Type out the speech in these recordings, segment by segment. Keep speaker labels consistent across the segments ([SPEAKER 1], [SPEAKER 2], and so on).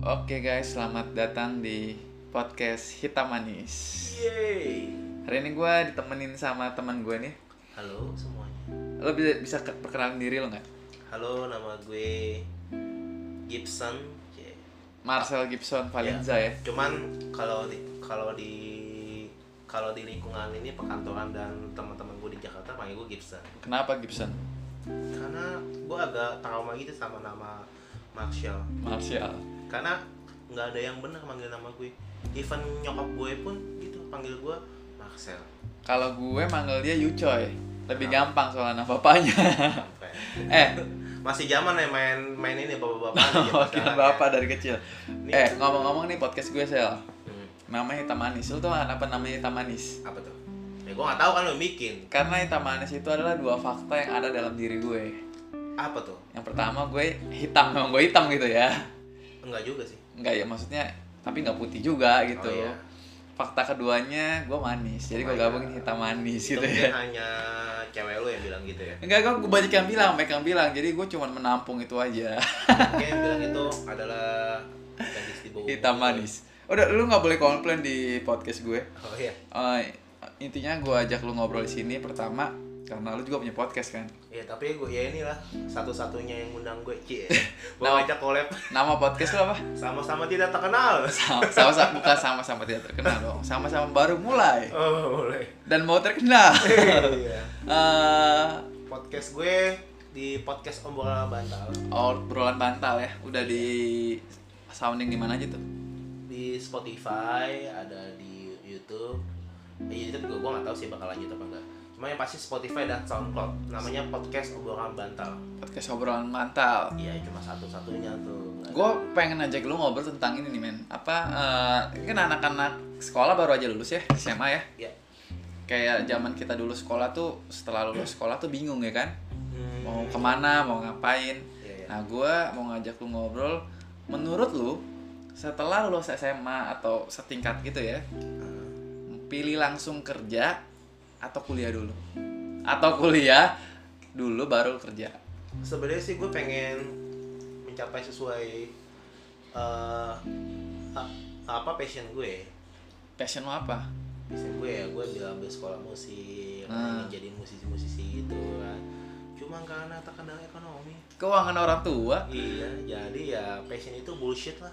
[SPEAKER 1] Oke guys, selamat datang di podcast Hitam Manis.
[SPEAKER 2] Yeay.
[SPEAKER 1] Hari ini gue ditemenin sama teman gue nih.
[SPEAKER 2] Halo semuanya.
[SPEAKER 1] Lo bisa bisa ke- perkenalan diri lo nggak?
[SPEAKER 2] Halo, nama gue Gibson. Ye.
[SPEAKER 1] Marcel Gibson Valenza
[SPEAKER 2] Iya.
[SPEAKER 1] ya.
[SPEAKER 2] Cuman kalau di kalau di kalau di lingkungan ini perkantoran dan teman-teman gue di Jakarta panggil gue Gibson.
[SPEAKER 1] Kenapa Gibson?
[SPEAKER 2] Karena gue agak trauma gitu sama nama Marshall.
[SPEAKER 1] Martial.
[SPEAKER 2] Karena nggak ada yang benar manggil nama gue. Even nyokap gue pun gitu panggil gue Marcel.
[SPEAKER 1] Kalau gue manggil dia Yucoy. Lebih gampang soalnya nama bapaknya.
[SPEAKER 2] Sampai.
[SPEAKER 1] eh,
[SPEAKER 2] Masih zaman ya main main ini bapak-bapak. di zaman
[SPEAKER 1] wakil
[SPEAKER 2] sekarang
[SPEAKER 1] bapak
[SPEAKER 2] ya.
[SPEAKER 1] dari kecil.
[SPEAKER 2] Nih.
[SPEAKER 1] Eh, ngomong-ngomong nih podcast gue Sel.
[SPEAKER 2] Hmm.
[SPEAKER 1] Namanya Hitam Manis. Lo tau apa namanya Hitam Manis?
[SPEAKER 2] apa tuh? Ya gue nggak tahu kan lo yang bikin.
[SPEAKER 1] Karena Hitam Manis itu adalah dua fakta yang ada dalam diri gue.
[SPEAKER 2] Apa tuh?
[SPEAKER 1] Yang pertama gue hitam, memang gue hitam gitu ya.
[SPEAKER 2] Enggak juga sih.
[SPEAKER 1] Enggak ya maksudnya tapi nggak putih juga gitu.
[SPEAKER 2] Oh, iya.
[SPEAKER 1] Fakta keduanya gue manis. Jadi
[SPEAKER 2] Oh
[SPEAKER 1] gue
[SPEAKER 2] my
[SPEAKER 1] gabungin
[SPEAKER 2] God.
[SPEAKER 1] hitam manis gitu
[SPEAKER 2] Itu mungkin
[SPEAKER 1] ya.
[SPEAKER 2] hanya cewek lo yang bilang gitu ya.
[SPEAKER 1] Enggak, gue banyak yang bilang, banyak yang bilang. Jadi gue cuman menampung itu aja.
[SPEAKER 2] Mungkin yang bilang itu adalah gadis di bawah.
[SPEAKER 1] hitam
[SPEAKER 2] umur.
[SPEAKER 1] manis. Udah, lu nggak boleh komplain di podcast gue.
[SPEAKER 2] Oh iya.
[SPEAKER 1] Eh, intinya gue ajak lu ngobrol di sini pertama karena lu juga punya podcast kan.
[SPEAKER 2] Ya tapi gue ya inilah satu-satunya yang undang gue cie. Gue
[SPEAKER 1] Nah.
[SPEAKER 2] ajak ya. collab
[SPEAKER 1] Nama podcast lu apa?
[SPEAKER 2] sama-sama tidak terkenal.
[SPEAKER 1] Sama-sama bukan sama-sama tidak terkenal dong. Sama-sama baru mulai
[SPEAKER 2] Oh boleh.
[SPEAKER 1] dan mau terkenal.
[SPEAKER 2] Iya.
[SPEAKER 1] Eh,
[SPEAKER 2] podcast gue di podcast Ombola Bantal
[SPEAKER 1] Oh, obrolan bantal ya udah di sounding di mana aja tuh
[SPEAKER 2] di Spotify, ada di YouTube. Eh, YouTube gue gue nggak tahu sih bakal lanjut apa enggak. Cuma yang pasti Spotify dan SoundCloud. Namanya podcast obrolan bantal.
[SPEAKER 1] podcast obrolan bantal
[SPEAKER 2] Iya cuma satu-satunya tuh. Nggak
[SPEAKER 1] gue
[SPEAKER 2] ada.
[SPEAKER 1] pengen ajak lu ngobrol tentang ini nih men apa eh, kan anak-anak sekolah baru aja lulus ya SMA ya
[SPEAKER 2] Iya.
[SPEAKER 1] kayak zaman kita dulu sekolah tuh setelah lulus sekolah tuh bingung ya kan
[SPEAKER 2] Hmm.
[SPEAKER 1] mau kemana mau ngapain
[SPEAKER 2] Iya, iya.
[SPEAKER 1] nah gue mau ngajak lu ngobrol menurut lu setelah lulus SMA atau setingkat gitu ya
[SPEAKER 2] Ah.
[SPEAKER 1] pilih langsung kerja atau kuliah dulu atau kuliah dulu baru kerja
[SPEAKER 2] Sebenarnya sih gue pengen mencapai sesuai eh, a- apa passion gue.
[SPEAKER 1] passion lo apa
[SPEAKER 2] Passion gue ya gue dia ambil sekolah musik,
[SPEAKER 1] Ah.
[SPEAKER 2] pengen jadi musisi-musisi gitu kan. Cuma karena tekanan ekonomi.
[SPEAKER 1] keuangan orang tua
[SPEAKER 2] Iya, jadi ya passion itu bullshit lah.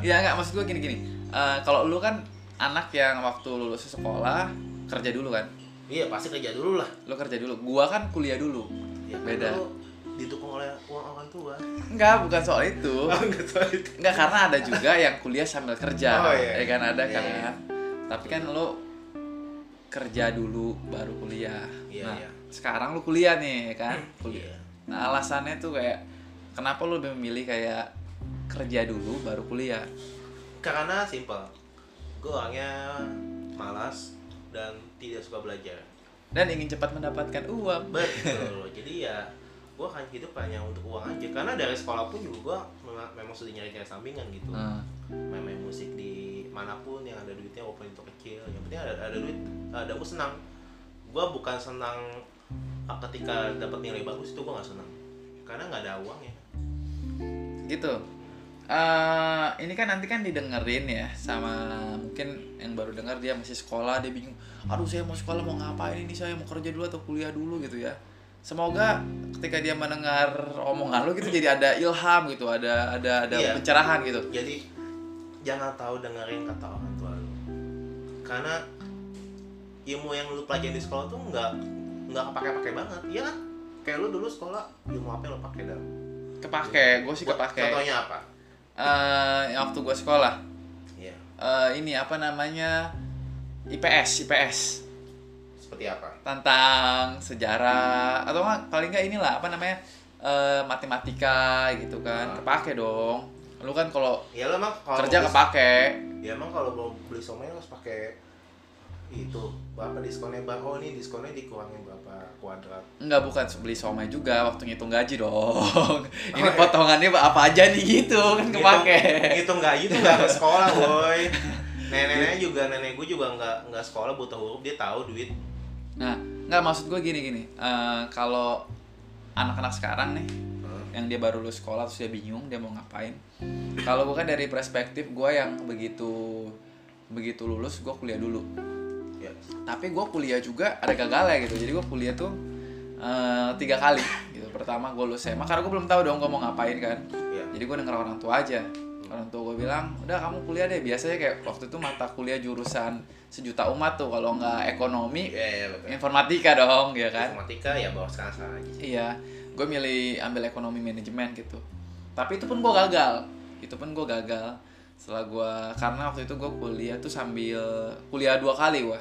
[SPEAKER 1] ya nggak maksud gue gini gini Eh, kalau lu kan anak yang waktu lulus sekolah kerja dulu kan
[SPEAKER 2] iya pasti kerja dulu lah.
[SPEAKER 1] lu kerja dulu gua kan kuliah dulu
[SPEAKER 2] Ya, kan
[SPEAKER 1] Beda.
[SPEAKER 2] lu Didukung oleh uang orang tua.
[SPEAKER 1] nggak bukan soal itu
[SPEAKER 2] Enggak tahu itu.
[SPEAKER 1] Oh, nggak karena ada juga yang kuliah sambil kerja
[SPEAKER 2] Oh, iya.
[SPEAKER 1] ya kan ada
[SPEAKER 2] Iya,
[SPEAKER 1] kan
[SPEAKER 2] iya.
[SPEAKER 1] tapi kan lu kerja dulu baru kuliah
[SPEAKER 2] Iya,
[SPEAKER 1] nah
[SPEAKER 2] iya.
[SPEAKER 1] sekarang lu kuliah nih ya kan kuliah
[SPEAKER 2] Iya.
[SPEAKER 1] Nah alasannya tuh kayak kenapa lu lebih memilih kayak kerja dulu baru kuliah?
[SPEAKER 2] Karena simple. Gue orangnya malas dan tidak suka belajar.
[SPEAKER 1] Dan ingin cepat mendapatkan uang.
[SPEAKER 2] Betul. Jadi ya gue akan hidup hanya untuk uang aja. Karena dari sekolah pun juga gue memang, memang sudah nyari-nyari sampingan gitu.
[SPEAKER 1] Nah,
[SPEAKER 2] Main-main musik di manapun yang ada duitnya walaupun itu kecil. Yang penting ada ada duit, ada gue senang. Gue bukan senang ah, ketika dapat nilai bagus itu gue nggak senang. Karena nggak ada uang ya.
[SPEAKER 1] gitu. Eh, ini kan nanti kan didengerin ya sama mungkin yang baru dengar dia masih sekolah dia bingung. Aduh saya mau sekolah mau ngapain ini saya mau kerja dulu atau kuliah dulu gitu ya. Semoga ketika dia mendengar omongan lu gitu jadi ada ilham gitu, ada ada ada
[SPEAKER 2] Iya.
[SPEAKER 1] pencerahan gitu.
[SPEAKER 2] Jadi jangan tahu dengerin kata orang tua lu. Karena ilmu yang lu pelajari di sekolah tuh nggak nggak kepake-pake banget, ya kan? Kayak lu dulu sekolah ilmu apa yang lu pakai dalam?
[SPEAKER 1] Kepake, gue sih kepake.
[SPEAKER 2] Contohnya apa?
[SPEAKER 1] Eh, yang waktu gue sekolah,
[SPEAKER 2] Iya.
[SPEAKER 1] eh ini apa namanya IPS IPS
[SPEAKER 2] Seperti apa?
[SPEAKER 1] tentang sejarah atau nggak, paling nggak inilah apa namanya eh, matematika gitu kan
[SPEAKER 2] Ah.
[SPEAKER 1] kepake dong lu kan kalau
[SPEAKER 2] Ya lu emang kalau
[SPEAKER 1] kerja
[SPEAKER 2] mau beli-
[SPEAKER 1] kepake
[SPEAKER 2] Ya emang kalau mau beli somai lu harus pakai itu berapa diskonnya berapa oh ini diskonnya dikurangin berapa kuadrat
[SPEAKER 1] nggak bukan beli somai juga waktu ngitung gaji dong ini
[SPEAKER 2] Oh, iya. Gitu.
[SPEAKER 1] potongannya apa aja nih gitu kan kepake
[SPEAKER 2] Ngitung gaji tuh gak ke sekolah boy
[SPEAKER 1] Iya.
[SPEAKER 2] Nenek-neneknya juga, nenek gue juga nggak nggak sekolah buta huruf, dia tahu duit
[SPEAKER 1] nah nggak maksud gue gini gini Eh, kalau anak-anak sekarang nih
[SPEAKER 2] Hmm.
[SPEAKER 1] yang dia baru lulus sekolah terus dia bingung dia mau ngapain kalau bukan dari perspektif gue yang begitu begitu lulus gue kuliah dulu
[SPEAKER 2] ya
[SPEAKER 1] tapi gue kuliah juga ada gagalnya gitu jadi gue kuliah tuh eh, tiga kali gitu pertama gue lulus SMA karena gue belum tahu dong gue mau ngapain kan
[SPEAKER 2] ya
[SPEAKER 1] jadi gue denger orang tua aja orang tua gue bilang udah kamu kuliah deh biasanya kayak waktu itu mata kuliah jurusan sejuta umat tuh kalau nggak ekonomi
[SPEAKER 2] ya, ya betul
[SPEAKER 1] informatika dong ya iya, kan
[SPEAKER 2] informatika ya bawa sekarang sekarang aja
[SPEAKER 1] Iya, gue milih ambil ekonomi manajemen gitu. Tapi itu pun gue gagal. Itu pun gue gagal. Setelah gue karena waktu itu gue kuliah tuh sambil kuliah dua kali gue.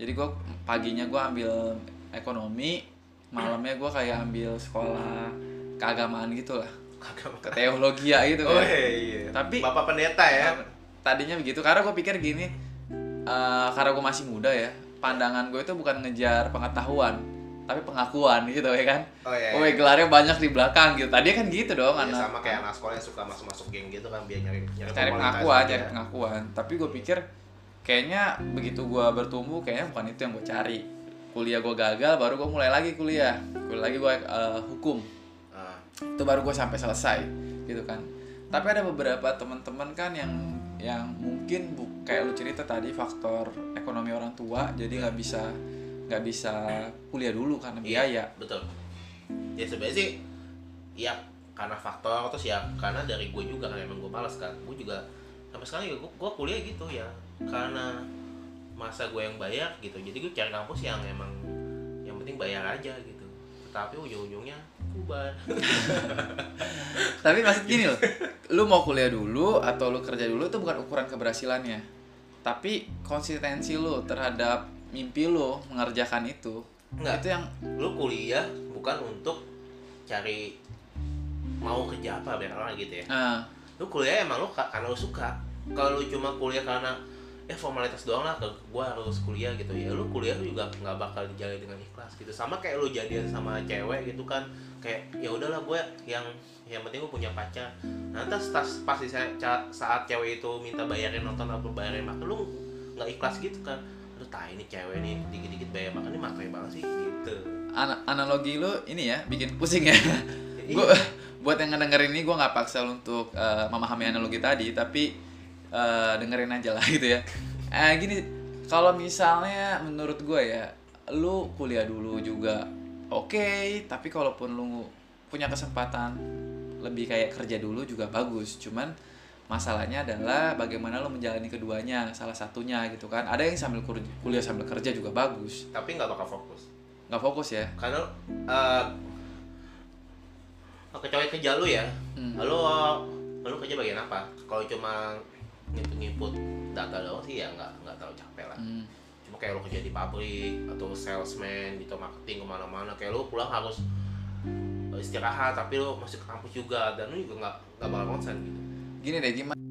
[SPEAKER 1] Jadi gue paginya gue ambil ekonomi, malamnya gue kayak ambil sekolah keagamaan gitu lah,
[SPEAKER 2] kagak
[SPEAKER 1] ke teologia gitu
[SPEAKER 2] oh
[SPEAKER 1] kan.
[SPEAKER 2] iya, iya
[SPEAKER 1] Tapi-
[SPEAKER 2] bapak pendeta ya
[SPEAKER 1] Tadinya begitu karena gue pikir gini, eh, karena gue masih muda ya, pandangan gue itu bukan ngejar pengetahuan, tapi pengakuan gitu ya kan.
[SPEAKER 2] oh iya,
[SPEAKER 1] Oh,
[SPEAKER 2] iya.
[SPEAKER 1] gelarnya banyak di belakang gitu. Tadi kan gitu dong,
[SPEAKER 2] Ya,
[SPEAKER 1] anak.
[SPEAKER 2] sama kayak anak sekolah yang suka masuk-masuk geng gitu kan biar nyari nyari,
[SPEAKER 1] cari
[SPEAKER 2] popularitas
[SPEAKER 1] pengakuan,
[SPEAKER 2] aja.
[SPEAKER 1] cari pengakuan. Tapi gue pikir kayaknya begitu gue bertumbuh, kayaknya bukan itu yang gue cari. Kuliah gue gagal, baru gue mulai lagi kuliah. Kuliah lagi gue eh, hukum.
[SPEAKER 2] Ah,
[SPEAKER 1] Itu baru gue sampai selesai, gitu kan. Tapi ada beberapa teman-teman kan yang yang mungkin bu, kayak lu cerita tadi faktor ekonomi orang tua, jadi nggak bisa nggak bisa kuliah dulu karena
[SPEAKER 2] Iya.
[SPEAKER 1] biaya.
[SPEAKER 2] betul ya sebenarnya sih ya karena faktor terus ya karena dari gue juga kan emang gue malas kan gue juga sampai sekarang ya gue, gue kuliah gitu ya karena masa gue yang bayar gitu jadi gue cari kampus yang emang yang penting bayar aja gitu tapi ujung-ujungnya kubar
[SPEAKER 1] Tapi maksud gini loh, lu mau kuliah dulu atau lu kerja dulu itu bukan ukuran keberhasilannya. Tapi konsistensi lu terhadap mimpi lu mengerjakan itu.
[SPEAKER 2] Enggak.
[SPEAKER 1] Itu yang
[SPEAKER 2] lu kuliah bukan untuk cari mau kerja apa biar orang gitu ya
[SPEAKER 1] eh,
[SPEAKER 2] lu kuliah emang lu ka- karena lu suka kalau lu cuma kuliah karena eh formalitas doang lah ke gua harus kuliah gitu ya lu kuliah lu juga nggak bakal dijalani dengan ikhlas gitu sama kayak lu jadian sama cewek gitu kan kayak ya udahlah gue yang yang penting gue punya pacar nanti pas pasti saat cewek itu minta bayarin nonton atau bayarin makan lu nggak ikhlas gitu kan lu tahu ini cewek nih dikit-dikit bayar makan ini makai banget sih gitu
[SPEAKER 1] ana- analogi lu ini ya bikin pusing ya. gua buat yang ngedengerin ini gua nggak paksa lu untuk eh, memahami analogi tadi, tapi eh, dengerin aja lah gitu ya. Eh gini, kalau misalnya menurut gue ya, lu kuliah dulu juga oke, tapi kalaupun lu punya kesempatan lebih kayak kerja dulu juga bagus, cuman masalahnya adalah bagaimana lu menjalani keduanya, salah satunya gitu kan. Ada yang sambil kur- kuliah sambil kerja juga bagus,
[SPEAKER 2] tapi nggak bakal fokus
[SPEAKER 1] nggak fokus ya.
[SPEAKER 2] karena eh kecuali kerja lu ya
[SPEAKER 1] Hmm.
[SPEAKER 2] lalu lu kerja bagian apa kalau cuma ngikut-ngikut data doang sih ya nggak nggak terlalu capek lah
[SPEAKER 1] Hmm.
[SPEAKER 2] cuma kayak lu kerja di pabrik atau salesman gitu marketing kemana-mana kayak lu pulang harus istirahat tapi lu masih ke kampus juga dan lu juga nggak nggak bakal konsen gitu
[SPEAKER 1] Gini deh, gimana